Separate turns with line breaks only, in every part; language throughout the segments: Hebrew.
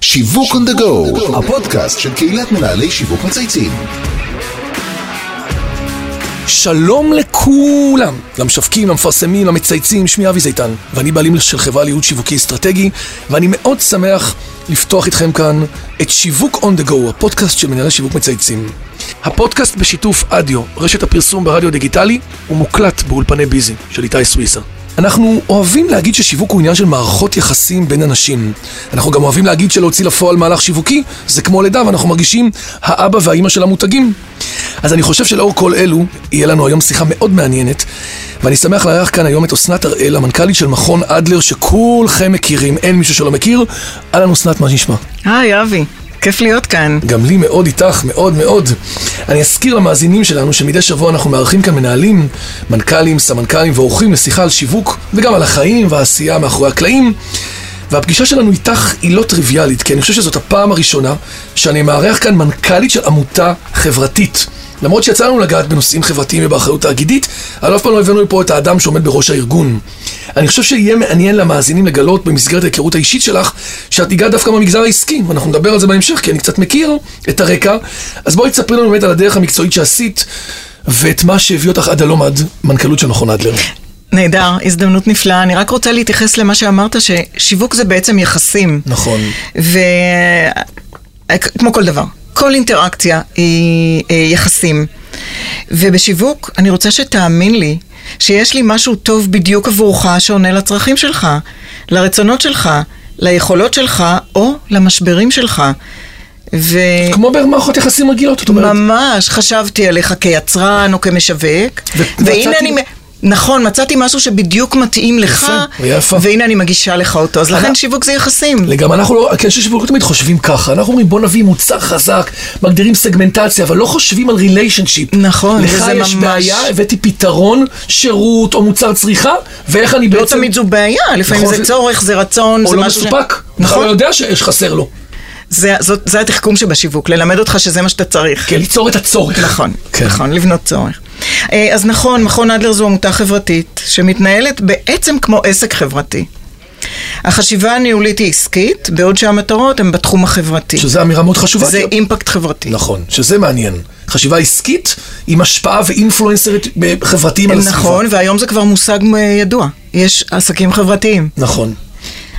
שיווק on the go, הפודקאסט של קהילת מנהלי שיווק מצייצים.
שלום לכולם, למשווקים, למפרסמים, למצייצים, שמי אבי זיתן, ואני בעלים של חברה לייעוד שיווקי אסטרטגי, ואני מאוד שמח לפתוח איתכם כאן את שיווק on the go, הפודקאסט של מנהלי שיווק מצייצים. הפודקאסט בשיתוף אדיו, רשת הפרסום ברדיו דיגיטלי, הוא מוקלט באולפני ביזי של איתי סוויסה. אנחנו אוהבים להגיד ששיווק הוא עניין של מערכות יחסים בין אנשים. אנחנו גם אוהבים להגיד שלהוציא לפועל מהלך שיווקי זה כמו לידה ואנחנו מרגישים האבא והאימא של המותגים. אז אני חושב שלאור כל אלו, יהיה לנו היום שיחה מאוד מעניינת, ואני שמח לארח כאן היום את אסנת הראל, המנכ"לית של מכון אדלר, שכולכם מכירים, אין מישהו שלא מכיר. אהלן אסנת, מה נשמע?
היי אבי, אה, כיף להיות כאן.
גם לי מאוד איתך, מאוד מאוד. אני אזכיר למאזינים שלנו שמדי שבוע אנחנו מארחים כאן מנהלים, מנכ"לים, סמנכ"לים ואורחים לשיחה על שיווק, וגם על החיים והעשייה מאחורי הקלעים. והפגישה שלנו איתך היא לא טריוויאלית, כי אני חושב שזאת הפעם הראשונה שאני מארח כאן מנכ"לית של עמותה חברתית. למרות שיצא לנו לגעת בנושאים חברתיים ובאחריות תאגידית, אבל אף פעם לא הבאנו לפה את האדם שעומד בראש הארגון. אני חושב שיהיה מעניין למאזינים לגלות במסגרת ההיכרות האישית שלך, שאת הגעת דווקא מהמגזר העסקי, ואנחנו נדבר על זה בהמשך, כי אני קצת מכיר את הרקע. אז בואי תספרי לנו באמת על הדרך המקצועית שעשית, ואת מה שהביא אותך עד הלום עד מנכ"לות של מכון אדלר.
נהדר, הזדמנות נפלאה. אני רק רוצה להתייחס למה שאמרת, ששיווק זה בעצם יחסים.
נכון.
וכמו כל דבר, כל אינטראקציה היא אה, יחסים. ובשיווק, אני רוצה שתאמין לי שיש לי משהו טוב בדיוק עבורך שעונה לצרכים שלך, לרצונות שלך, ליכולות שלך או למשברים שלך. ו...
כמו במערכות יחסים רגילות, את אומרת.
ממש, חשבתי עליך כיצרן או כמשווק,
ו-
והנה
מצאתי-
אני... נכון, מצאתי משהו שבדיוק מתאים לך,
יפה, יפה.
והנה אני מגישה לך אותו. אז לכן
אני-
שיווק זה יחסים.
לגמרי, אנחנו לא, כאנשי שיווק לא תמיד חושבים ככה, אנחנו אומרים בוא נביא מוצר חזק, מגדירים סגמנטציה, אבל לא חושבים על ריליישנשיפ.
נכון,
לך
וזה
יש
ממש-
בעיה, הבאתי פתרון, שירות או מוצר צריכה, ואיך אני
לא
בעצם...
תמיד זו בעיה, לפעמים
נכון,
זה
ו-
צורך, זה רצון,
או
זה
לא
משהו ש-
מסופק, נכון, לא
נכון,
יודע שיש חסר לו,
זה- זאת- זה התחכום שבשיווק, ללמד אותך שזה מה שאתה צריך.
כן, ליצור את הצורך.
נכון,
כן.
נכון, לבנות צורך. אה, אז נכון, מכון אדלר זו עמותה חברתית שמתנהלת בעצם כמו עסק חברתי. החשיבה הניהולית היא עסקית, בעוד שהמטרות הן בתחום החברתי.
שזו אמירה מאוד חשובה.
זה
כי-
אימפקט חברתי.
נכון, שזה מעניין. חשיבה עסקית עם השפעה ואינפלואנסרית אה, חברתיים על הסביבה.
נכון, והיום זה כבר מושג אה, ידוע. יש עסקים חברתיים.
נכון.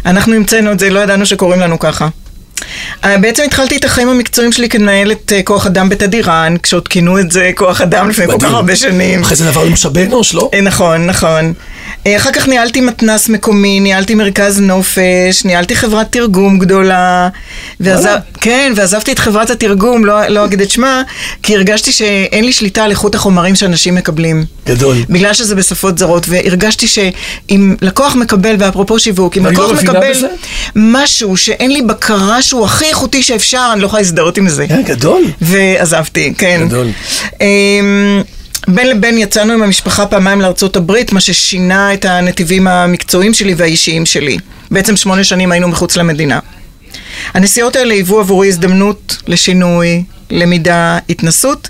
אנחנו המצאנו את זה, לא ידענו שקוראים לנו ככה. אה, בעצם התחלתי את החיים המקצועיים שלי כמנהלת אה, כוח אדם בתדירן, כשעוד כינו את זה כוח אדם לפני כל כך
מדהים.
הרבה שנים.
אחרי זה נעבר למשאבי אנוש, לא?
אה, נכון, נכון. אה, אחר כך ניהלתי מתנ"ס מקומי, ניהלתי מרכז נופש, ניהלתי חברת תרגום גדולה. ועזב-
וואלה.
כן, ועזבתי את חברת התרגום, לא לא אגיד את שמה, כי הרגשתי שאין לי שליטה על איכות החומרים שאנשים מקבלים.
גדול.
בגלל שזה בשפות זרות, והרגשתי שאם לקוח מקבל, ואפרופו שיווק, אם
אני לא
לקוח
מבינה
מקבל
בזה.
משהו שאין לי בקרה שהוא הכי איכותי שאפשר, אני לא יכולה להזדהות עם זה.
אה, גדול.
ועזבתי, כן.
גדול.
אמ, בין לבין יצאנו עם המשפחה פעמיים לארצות הברית, מה ששינה את הנתיבים המקצועיים שלי והאישיים שלי. בעצם שמונה שנים היינו מחוץ למדינה. הנסיעות האלה היוו עבורי הזדמנות לשינוי, למידה, התנסות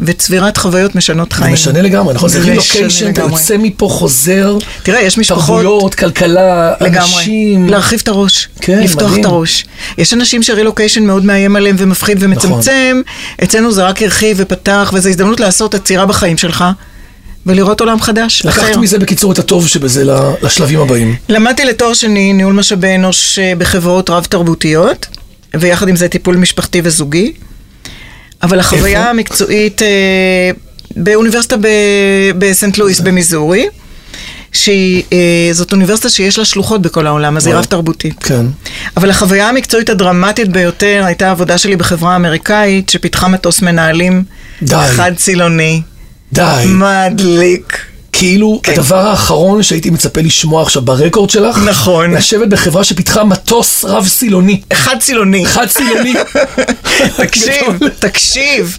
וצבירת חוויות משנות
זה
חיים.
משנה לגמרי, נכון? זה
משנה
רילוקיישן, אתה
לגמרי.
יוצא מפה, חוזר,
תראה, יש משפחות...
תרבויות, כלכלה,
לגמרי.
אנשים.
להרחיב את הראש.
כן,
לפתוח
מדהים.
את הראש. יש אנשים שרילוקיישן מאוד מאיים עליהם ומפחיד ומצמצם.
נכון.
אצלנו זה רק הרחיב ופתח, וזו הזדמנות לעשות עצירה בחיים שלך, ולראות עולם חדש,
לקחת
אחר.
מזה בקיצור את הטוב שבזה ל- לשלבים הבאים.
למדתי לתואר שני ניהול משאבי אנוש אה, בחברות רב-תרבותיות, ויחד עם זה טיפול משפחתי וזוגי. אבל החוויה
איפה?
המקצועית אה, באוניברסיטה ב- בסנט לואיס
אוקיי.
במיזורי, שהיא, אה, זאת אוניברסיטה שיש לה שלוחות בכל העולם, אז היא
וואו.
רב-תרבותית.
כן.
אבל החוויה המקצועית הדרמטית ביותר הייתה עבודה שלי בחברה האמריקאית, שפיתחה מטוס מנהלים
די.
חד-סילוני,
די.
מדליק.
כאילו
כן.
הדבר האחרון שהייתי מצפה לשמוע עכשיו ברקורד שלך,
נכון.
לשבת בחברה שפיתחה מטוס רב סילוני.
חד-סילוני.
חד סילוני.
תקשיב,
גדול.
תקשיב.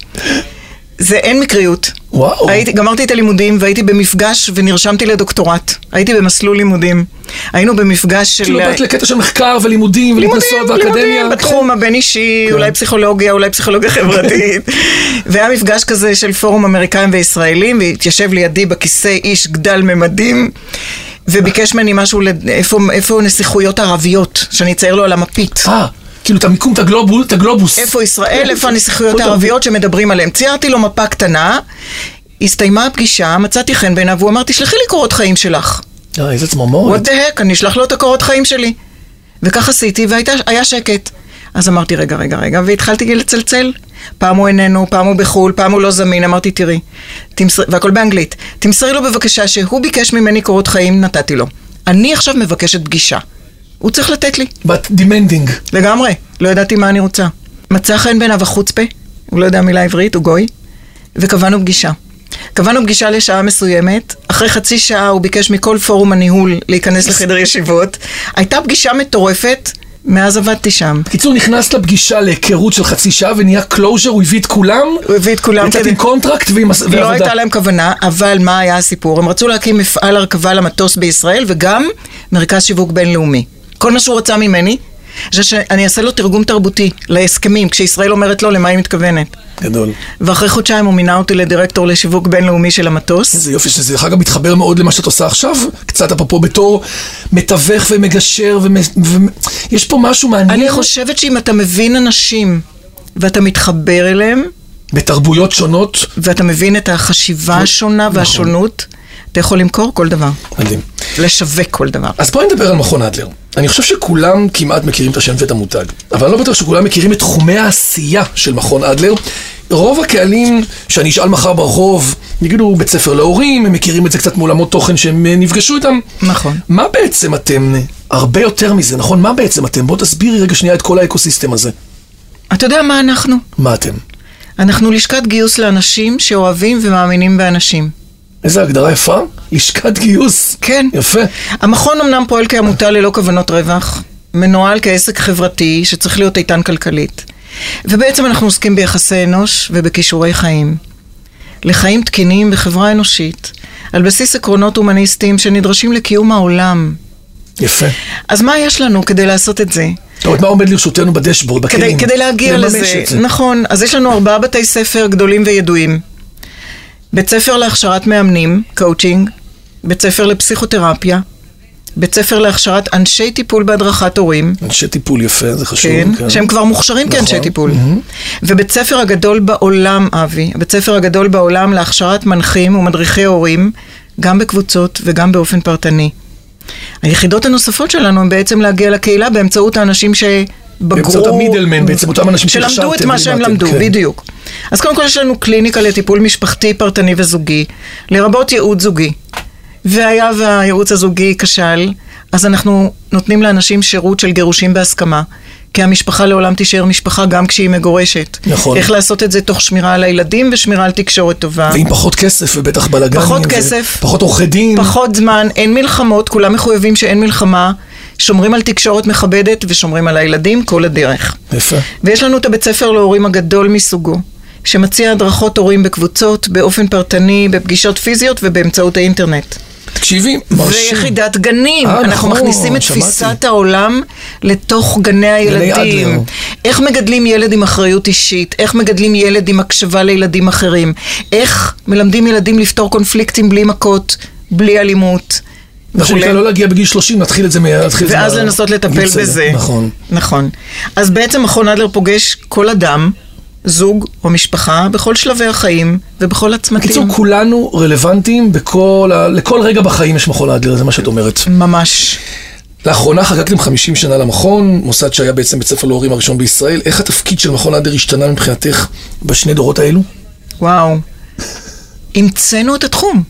זה אין מקריות.
וואו.
הייתי, גמרתי את הלימודים והייתי במפגש ונרשמתי לדוקטורט. הייתי במסלול לימודים. היינו במפגש של...
כאילו באת לקטע של מחקר ולימודים ולהתנסות באקדמיה. כן.
לימודים בתחום הבין-אישי, אולי פסיכולוגיה, אולי פסיכולוגיה חברתית. והיה מפגש כזה של פורום אמריקאים וישראלים, והתיישב לידי בכיסא איש גדל ממדים. וביקש ממני משהו, לד- איפה, איפה נסיכויות ערביות, שאני אצייר לו על המפית.
אה, כאילו את המיקום, את הגלובוס, את הגלובוס.
איפה ישראל, איפה הנסיכויות הערביות שמדברים עליהן. ציירתי לו מפה קטנה, הסתיימה הפגישה, מצאתי חן בעיניו, והוא אמר, תשלחי לי קורות חיים שלך.
אה, איזה צמרמורת.
what the heck, אני אשלח לו את הקורות חיים שלי. וכך עשיתי, והיה שקט. אז אמרתי, רגע, רגע, רגע, והתחלתי לצלצל. פעם הוא איננו, פעם הוא בחו"ל, פעם הוא לא זמין, אמרתי, תראי, תמסר... והכל באנגלית. תמסרי לו בבקשה שהוא ביקש ממני קורות חיים, נתתי לו. אני עכשיו מבקשת פגישה. הוא צריך לתת לי.
בת דימנדינג.
לגמרי, לא ידעתי מה אני רוצה. מצא חן בעיניו החוצפה, הוא לא יודע מילה עברית, הוא גוי, וקבענו פגישה. קבענו פגישה לשעה מסוימת, אחרי חצי שעה הוא ביקש מכל פורום הניהול להיכנס לחדר ישיבות. הייתה פגישה מטורפת, מאז עבדתי שם.
בקיצור, נכנס לפגישה להיכרות של חצי שעה ונהיה קלוז'ר, הוא הביא את כולם.
הוא הביא את כולם
יצאת עם קונטרקט ועם הס-
לא
ועבודה.
הייתה להם כוונה, אבל מה היה הסיפור? הם רצו להקים מפעל הרכבה למטוס בישראל וגם מרכז שיווק בינלאומי. כל מה שהוא רצה ממני, זה שאני אעשה לו תרגום תרבותי להסכמים, כשישראל אומרת לו למה היא מתכוונת.
גדול.
ואחרי חודשיים הוא מינה אותי לדירקטור לשיווק בינלאומי של המטוס.
איזה יופי שזה, דרך אגב, מתחבר מאוד למה שאת עושה עכשיו, קצת אפרופו בתור מתווך ומגשר, ויש פה משהו מעניין
אני חושבת שאם אתה מבין אנשים ואתה מתחבר אליהם,
בתרבויות שונות.
ואתה מבין את החשיבה השונה והשונות, אתה יכול למכור כל דבר,
מדהים.
לשווק כל דבר.
אז בואי נדבר על מכון אדלר. אני חושב שכולם כמעט מכירים את השם ואת המותג, אבל אני לא בטוח שכולם מכירים את תחומי העשייה של מכון אדלר. רוב הקהלים שאני אשאל מחר ברחוב, יגידו בית ספר להורים, הם מכירים את זה קצת מעולמות תוכן שהם אה, נפגשו איתם.
נכון.
מה בעצם אתם, אה, הרבה יותר מזה, נכון? מה בעצם אתם? בוא תסבירי רגע שנייה את כל האקוסיסטם הזה.
אתה יודע מה אנחנו?
מה אתם?
אנחנו לשכת גיוס לאנשים שאוהבים ומאמינים באנשים.
איזה הגדרה יפה? לשכת גיוס.
כן.
יפה.
המכון אמנם פועל כעמותה ללא כוונות רווח, מנוהל כעסק חברתי שצריך להיות איתן כלכלית. ובעצם אנחנו עוסקים ביחסי אנוש ובכישורי חיים. לחיים תקינים בחברה אנושית, על בסיס עקרונות הומניסטיים שנדרשים לקיום העולם.
יפה.
אז מה יש לנו כדי לעשות את זה?
זאת אומרת, מה עומד לרשותנו בדשבורד,
כדי,
בכלים?
כדי להגיע
לממש
לזה.
את זה.
נכון, אז יש לנו ארבעה בתי ספר גדולים וידועים. בית ספר להכשרת מאמנים, קואוצ'ינג, בית ספר לפסיכותרפיה, בית ספר להכשרת אנשי טיפול בהדרכת הורים,
אנשי טיפול יפה, זה חשוב.
כן, שהם כבר מוכשרים
נכון.
כאנשי טיפול. ובית ספר הגדול בעולם, אבי, הבית ספר הגדול בעולם להכשרת מנחים ומדריכי הורים, גם בקבוצות וגם באופן פרטני. היחידות הנוספות שלנו הן בעצם להגיע לקהילה באמצעות האנשים שבגרו...
באמצעות המידלמן, בעצם אותם אנשים
שלמדו את
שהכשרתם
מה שהם
ולימדתם,
למדו,
כן.
בדיוק. אז קודם כל יש לנו קליניקה לטיפול משפחתי, פרטני וזוגי, לרבות ייעוד זוגי. והיה והייעוץ הזוגי כשל, אז אנחנו נותנים לאנשים שירות של גירושים בהסכמה. כי המשפחה לעולם תישאר משפחה גם כשהיא מגורשת.
נכון.
איך לעשות את זה תוך שמירה על הילדים ושמירה על תקשורת טובה.
ועם פחות כסף ובטח בלאגנים.
פחות
ו-
כסף.
פחות עורכי דין.
פחות זמן, אין מלחמות, כולם מחויבים שאין מלחמה. שומרים על תקשורת מכבדת ושומרים על הילדים כל הדרך.
יפה.
ויש לנו את הבית ספר להורים הגדול מסוגו, שמציע הדרכות הורים בקבוצות, באופן פרטני, בפגישות פיזיות ובאמצעות האינטרנט.
תקשיבי, מרשים.
ויחידת גנים,
אה,
אנחנו
נכון,
מכניסים את
שמעתי.
תפיסת העולם לתוך גני הילדים.
אדלר.
איך מגדלים ילד עם אחריות אישית, איך מגדלים ילד עם הקשבה לילדים אחרים, איך מלמדים ילדים לפתור קונפליקטים בלי מכות, בלי אלימות.
מה
וכולי.
שנקרא לא להגיע בגיל 30, נתחיל את זה מה... נתחיל את זה
ואז
מה-
לנסות לטפל
מגיל צעיר.
בזה.
נכון.
נכון. אז בעצם מכון אדלר פוגש כל אדם, זוג או משפחה, בכל שלבי החיים ובכל הצמתים.
בקיצור, כולנו רלוונטיים בכל ה... לכל רגע בחיים יש מכון אדלר, זה מה שאת אומרת.
ממש.
לאחרונה חגגתם 50 שנה למכון, מוסד שהיה בעצם בית ספר להורים הראשון בישראל. איך התפקיד של מכון אדלר השתנה מבחינתך בשני דורות האלו?
וואו. המצאנו את התחום.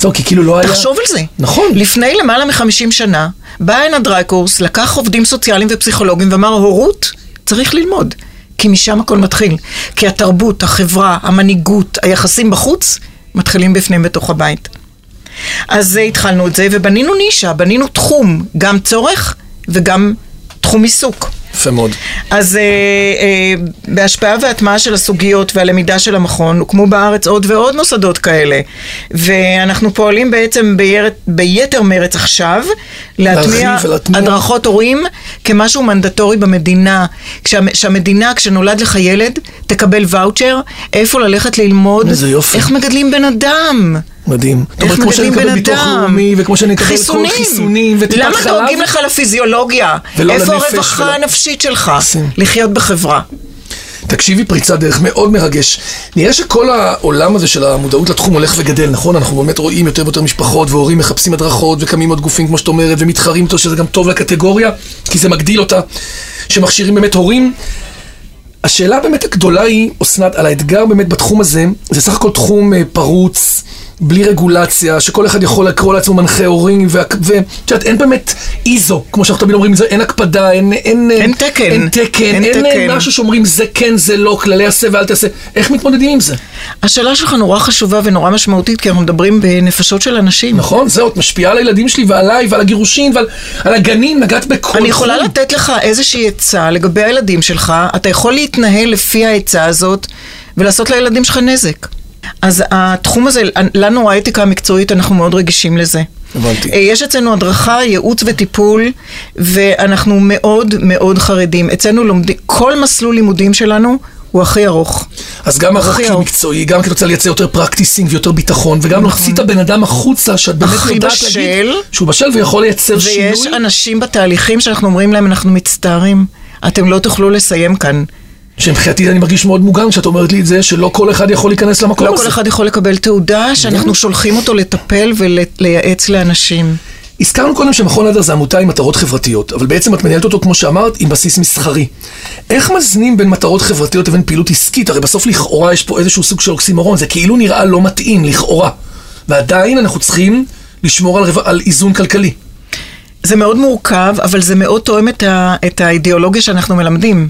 זהו, כי כאילו לא היה...
תחשוב על זה.
נכון.
לפני למעלה מחמישים שנה, בא הנה דרייקורס, לקח עובדים סוציאליים ופסיכולוגים ואמר, הורות צריך ללמוד, כי משם הכל מתחיל. כי התרבות, החברה, המנהיגות, היחסים בחוץ, מתחילים בפנים בתוך הבית. אז אה, התחלנו את זה, ובנינו נישה, בנינו תחום, גם צורך וגם תחום עיסוק.
יפה מאוד.
אז אה, אה, בהשפעה והטמעה של הסוגיות והלמידה של המכון, הוקמו בארץ עוד ועוד מוסדות כאלה. ואנחנו פועלים בעצם בירת, ביתר מרץ עכשיו, להטמיע
להרחיב ולהטמיע.
הדרכות הורים כמשהו מנדטורי במדינה. כשהמ- שהמדינה, כשנולד לך ילד, תקבל ואוצ'ר, איפה ללכת ללמוד,
איזה יופי.
איך מגדלים בן אדם.
מדהים. זאת אומרת, כמו שאני
מגדלים
מקבל
בן
ביטוח
אדם?
לאומי, וכמו שאני מקבל כל
חיסונים.
חיסונים וטיפת חלב.
למה דואגים לך לפיזיולוגיה?
ולא
איפה
לנפש
הרווחה
ולא-
הנפשית שלך?
עושים.
לחיות בחברה.
תקשיבי, פריצת דרך מאוד מרגש. נראה שכל העולם הזה של המודעות לתחום הולך וגדל, נכון? אנחנו באמת רואים יותר ויותר משפחות והורים מחפשים הדרכות וקמים עוד גופים, כמו שאת אומרת, ומתחרים אותו, שזה גם טוב לקטגוריה, כי זה מגדיל אותה, שמכשירים באמת הורים. השאלה באמת הגדולה היא, אסנת, על האתגר באמת בתחום הזה, זה סך הכל תחום אה, פרוץ, בלי רגולציה, שכל אחד יכול לקרוא לעצמו מנחה הורים, ואת יודעת, אין באמת איזו, כמו שאנחנו תמיד אומרים, זה- אין הקפדה, אין, אין, אה,
אין תקן.
אין תקן, אין, אין
אין
אה,
תקן.
משהו משהו שאומרים זה כן, זה לא, כללי עשה ואל תעשה. איך מתמודדים עם זה?
השאלה שלך נורא חשובה ונורא משמעותית, כי אנחנו מדברים בנפשות של אנשים.
נכון, זה עוד משפיעה על הילדים שלי ועליי ועל הגירושין ועל על הגנים, נגעת בכל...
אני יכולה
תחום.
לתת לך איזושהי עצה לגבי הילדים שלך, אתה יכול להתנהל לפי העצה הזאת ולעשות לילדים שלך נזק. אז התחום הזה, לנו האתיקה המקצועית, אנחנו מאוד רגישים לזה.
הבנתי.
אה, יש אצלנו הדרכה, ייעוץ וטיפול, ואנחנו מאוד מאוד חרדים. אצלנו לומדים, כל מסלול לימודים שלנו הוא הכי ארוך.
אז גם
הכי
הכי
ארוך.
מקצועי, גם כי את רוצה לייצר יותר פרקטיסינג ויותר ביטחון, וגם להוציא את הבן אדם החוצה, שאת באמת
הכי
יודעת
נכון. בשל.
להגיד שהוא בשל ויכול לייצר שינוי.
ויש אנשים בתהליכים שאנחנו אומרים להם, אנחנו מצטערים, אתם לא תוכלו לסיים כאן.
שמבחינתי אני מרגיש מאוד מוגן כשאת אומרת לי את זה, שלא כל אחד יכול להיכנס למקום
לא
הזה.
כל אחד יכול לקבל תעודה שאנחנו שולחים אותו לטפל ולייעץ לאנשים.
הזכרנו קודם שמכון עדר זה עמותה עם מטרות חברתיות, אבל בעצם את מנהלת אותו, כמו שאמרת, עם בסיס מסחרי. איך מאזנים בין מטרות חברתיות לבין פעילות עסקית? הרי בסוף לכאורה יש פה איזשהו סוג של אוקסימורון, זה כאילו נראה לא מתאים, לכאורה. ועדיין אנחנו צריכים לשמור על, רו- על איזון כלכלי.
זה מאוד מורכב, אבל זה מאוד תואם את, ה, את האידיאולוגיה שאנחנו מלמדים.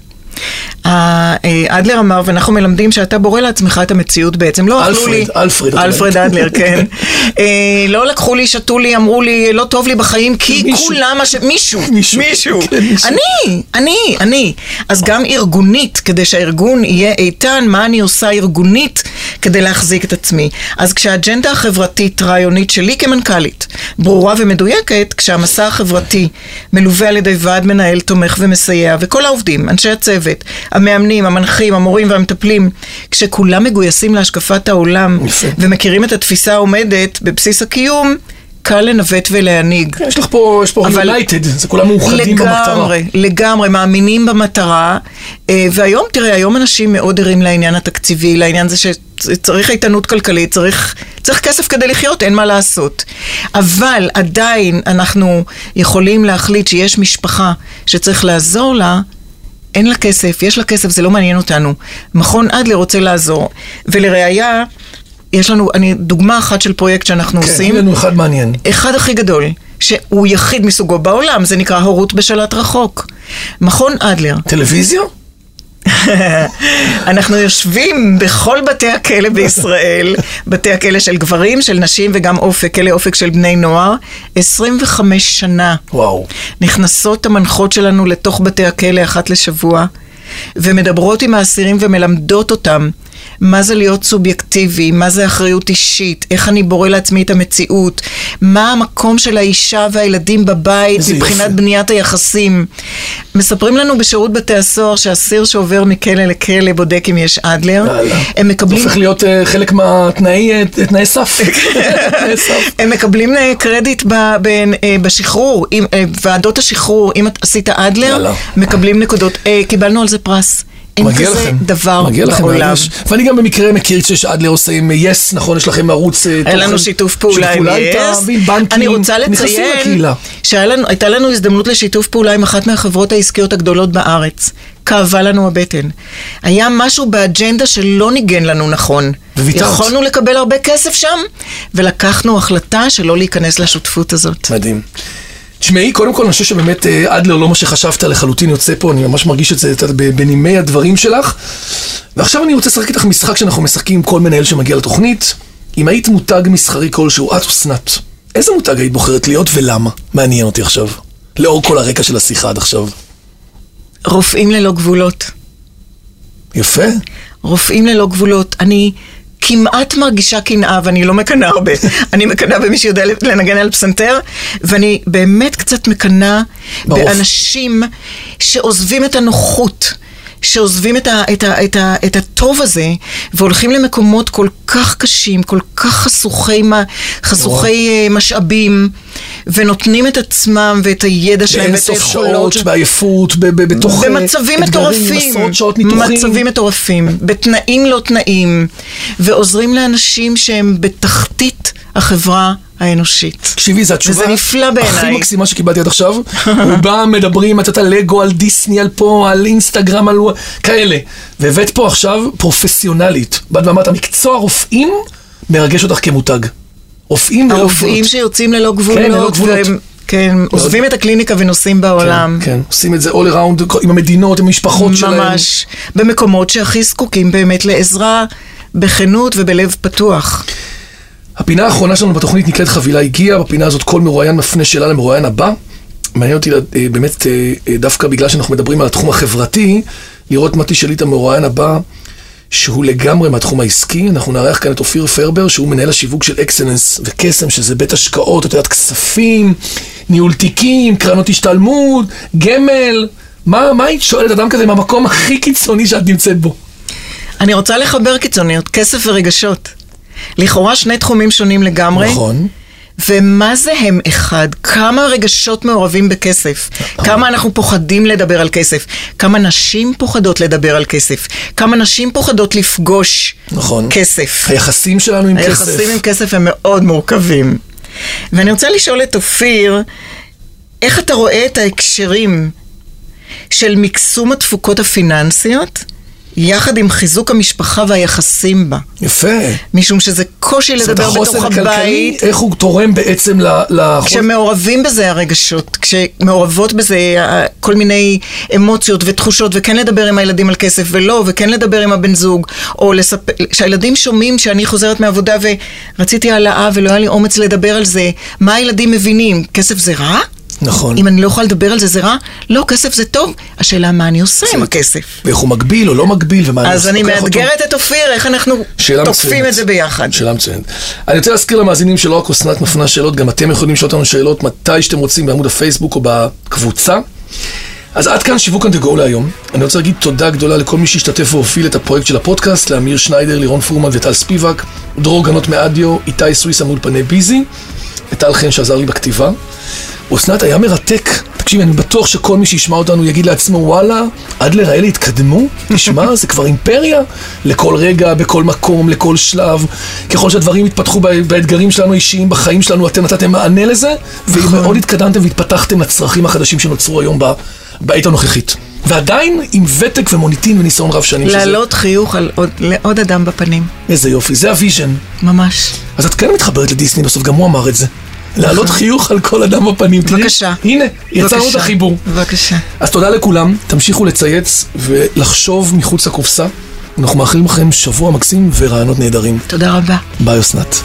ה- אה, אדלר אמר, ואנחנו מלמדים שאתה בורא לעצמך את המציאות בעצם. לא אכלו
אלפרד,
לי...
אלפרד, את אומרת.
אלפרד אדלר, כן. אה, לא לקחו לי, שתו לי, אמרו לי, לא טוב לי בחיים, כי
מישהו.
כולם... אש- מישהו.
מישהו. כן, מישהו.
אני, אני, אני. אז גם ארגונית, כדי שהארגון יהיה איתן, מה אני עושה ארגונית כדי להחזיק את עצמי. אז כשהאג'נדה החברתית רעיונית שלי כמנכ"לית ברורה ומדויקת, כשהמסע החברתי מלווה על ידי ועד מנהל תומך ומסייע, וכל העובדים, אנשי הצוות, המאמנים, המנחים, המורים והמטפלים, כשכולם מגויסים להשקפת העולם
יפה.
ומכירים את התפיסה העומדת בבסיס הקיום, קל לנווט ולהנהיג.
כן, יש לך פה, יש פה
אבל-
יונייטד, זה כולם מאוחדים במטרה.
לגמרי, לגמרי, מאמינים במטרה. אה, והיום, תראה, היום אנשים מאוד ערים לעניין התקציבי, לעניין זה שצריך איתנות כלכלית, צריך, צריך כסף כדי לחיות, אין מה לעשות. אבל עדיין אנחנו יכולים להחליט שיש משפחה שצריך לעזור לה. אין לה כסף, יש לה כסף, זה לא מעניין אותנו. מכון אדלר רוצה לעזור. ולראיה, יש לנו, אני, דוגמה אחת של פרויקט שאנחנו
כן,
עושים.
אין לנו אחד מעניין.
אחד הכי גדול, שהוא יחיד מסוגו בעולם, זה נקרא הורות בשלט רחוק. מכון אדלר,
טלוויזיה?
אנחנו יושבים בכל בתי הכלא בישראל, בתי הכלא של גברים, של נשים וגם אופק, כלא אופק של בני נוער, 25 שנה.
וואו.
נכנסות המנחות שלנו לתוך בתי הכלא אחת לשבוע, ומדברות עם האסירים ומלמדות אותם מה זה להיות סובייקטיבי, מה זה אחריות אישית, איך אני בורא לעצמי את המציאות, מה המקום של האישה והילדים בבית
איזה
מבחינת
יופי.
בניית היחסים. מספרים לנו בשירות בתי הסוהר שאסיר שעובר מכלא לכלא בודק אם יש אדלר,
יאללה.
הם
זה
מקבלים
הופך להיות אה, חלק מהתנאי אה, תנאי סף.
כן.
תנאי סף.
הם מקבלים אה, קרדיט ב- בין, אה, בשחרור, אם, אה, ועדות השחרור, אם את עשית אדלר,
יאללה.
מקבלים נקודות. אה, קיבלנו על זה פרס. אין
לא. מגיע
כזה
לכם.
דבר
מגיע לכם
בעולם.
מרגש. ואני גם במקרה מכיר שאדלר עושה עם יס, נכון? יש לכם ערוץ... אה,
היה לנו
תוכן-
שיתוף פעולה עם
איתם,
יס.
ועם בנקים.
אני רוצה
נכנסים
לציין
לקהילה.
שהייתה לנו הזדמנות לשיתוף פעולה עם אחת מהחברות העסקיות הגדולות בארץ. כאבה לנו הבטן. היה משהו באג'נדה שלא ניגן לנו נכון.
וויתרת.
יכולנו לקבל הרבה כסף שם, ולקחנו החלטה שלא להיכנס לשותפות הזאת.
מדהים. תשמעי, קודם כל אני חושב שבאמת אה, אדלר לא מה שחשבת לחלוטין יוצא פה, אני ממש מרגיש את זה את יודעת, ב- בנימי הדברים שלך. ועכשיו אני רוצה לשחק איתך משחק שאנחנו משחקים עם כל מנהל שמגיע לתוכנית. אם היית מותג מסחרי כלשהו, את אסנת, איזה מותג היית בוחרת להיות ולמה? מעניין אותי עכשיו. לאור כל הרקע של השיחה עד עכשיו.
רופאים ללא גבולות.
יפה.
רופאים ללא גבולות. אני כמעט מרגישה קנאה, ואני לא מקנאה הרבה. אני מקנאה במי שיודע לנגן על פסנתר, ואני באמת קצת מקנאה
ברור.
באנשים שעוזבים את הנוחות. שעוזבים את, ה, את, ה, את, ה, את הטוב הזה והולכים למקומות כל כך קשים, כל כך חשוכי, מה- חשוכי אה, משאבים, ונותנים את עצמם ואת הידע שלהם
באין
ואת
סוף
היכולות.
שעות,
של-
בעייפות, ב- ב- בתוך אה,
במצבים מטורפים,
עשרות שעות ניתוחים.
מצבים מטורפים, בתנאים לא תנאים, ועוזרים לאנשים שהם בתחתית החברה האנושית.
תקשיבי, זו התשובה
וזה נפלא
הכי
בעיניי.
מקסימה שקיבלתי עד עכשיו. רובם מדברים, את יודעת, על לגו, על דיסני, על פה, על אינסטגרם, על ווא- כאלה. והבאת פה עכשיו פרופסיונלית. באת ואמרת, מקצוע רופאים מרגש אותך כמותג. רופאים ללא
הרופאים
גבולות. כן,
שיוצאים ללא גבולות,
ללא גבולות.
והם- כן, עוזבים את הקליניקה ונוסעים בעולם.
כן, כן, עושים את זה all around כל- עם המדינות, עם המשפחות שלהם.
ממש. במקומות שהכי זקוקים באמת לעזרה, בכנות ובלב פתוח.
הפינה האחרונה שלנו בתוכנית נקראת חבילה הגיעה, בפינה הזאת כל מרואיין מפנה שאלה למרואיין הבא. מעניין אותי לד- אה, באמת, אה, אה, דווקא בגלל שאנחנו מדברים על התחום החברתי, לראות מה תשאלי את המרואיין הבא, שהוא לגמרי מהתחום העסקי. אנחנו נארח כאן את אופיר פרבר, שהוא מנהל השיווק של אקסלנס וקסם, שזה בית השקעות, את יודעת, כספים, ניהול תיקים, קרנות השתלמות, גמל. מה, מה היית שואלת אדם כזה מהמקום הכי קיצוני שאת נמצאת בו?
אני רוצה לחבר קיצוניות, כסף ורגשות. לכאורה שני תחומים שונים לגמרי.
נכון.
ומה זה הם אחד? כמה רגשות מעורבים בכסף? כמה אנחנו פוחדים לדבר על כסף? כמה נשים פוחדות לדבר על כסף? כמה נשים פוחדות לפגוש
נכון.
כסף?
היחסים שלנו עם כסף.
היחסים עם כסף הם מאוד מורכבים. ואני רוצה לשאול את אופיר, איך אתה רואה את ההקשרים של מקסום התפוקות הפיננסיות יחד עם חיזוק המשפחה והיחסים בה?
יפה.
משום שזה קושי
זאת
לדבר
אומרת,
בתוך
החוסן הכלכלי,
הבית.
איך הוא תורם בעצם ל- לחוסן...
כשמעורבים בזה הרגשות, כשמעורבות בזה אה, כל מיני אמוציות ותחושות, וכן לדבר עם הילדים על כסף ולא, וכן לדבר עם הבן זוג, או לספר, כשהילדים שומעים שאני חוזרת מעבודה ורציתי העלאה ולא היה לי אומץ לדבר על זה, מה הילדים מבינים? כסף זה רע?
נכון.
אם אני לא יכולה לדבר על זה זה רע? לא, כסף זה טוב. השאלה מה אני עושה עם הכסף.
ואיך הוא מגביל או לא מגביל, ומה
אז אני
כן. לוקח אותו.
מאתגרת את אופיר, איך אנחנו
שאלה
תוקפים
מצוינת.
את זה ביחד.
שאלה מצוינת. אני רוצה להזכיר למאזינים שלא רק אסנת מפנה שאלות, גם אתם יכולים לשאול אותנו שאלות מתי שאתם רוצים בעמוד הפייסבוק או בקבוצה. אז עד כאן שיווק on the go להיום. אני רוצה להגיד תודה גדולה לכל מי שהשתתף והוביל את הפרויקט של הפודקאסט, לאמיר שניידר, לירון פורמן וטל ספיבק, דרור גנות מאדיו, איתי סוויסה מאולפני ביזי, וטל חן שעזר לי בכתיבה. אסנת, היה מרתק. תקשיבי, אני בטוח שכל מי שישמע אותנו יגיד לעצמו, וואלה, אדלר האלה התקדמו? תשמע, זה כבר אימפריה. לכל רגע, בכל מקום, לכל שלב. ככל שהדברים התפתחו ב- באתגרים שלנו האישיים, בחיים שלנו, אתם נתתם מענה לזה, ומאוד התקדמתם והתפתחתם לצרכים החדשים שנוצרו היום ב- בעת הנוכחית. ועדיין עם ותק ומוניטין וניסיון רב שנים. שזה-
להעלות חיוך על עוד- לעוד אדם בפנים,
איזה יופי, זה הוויז'ן.
ממש.
אז את כן מתחברת לדיסני בסוף, גם הוא אמר את זה. להעלות חיוך על כל אדם בפנים. תראי,
נכון. בבקשה.
הנה, יצרנו את
בבקשה.
החיבור.
בבקשה.
אז תודה לכולם, תמשיכו לצייץ ולחשוב מחוץ לקופסה. אנחנו מאחלים לכם שבוע מקסים ורעיונות נהדרים.
תודה רבה.
ביי אסנת.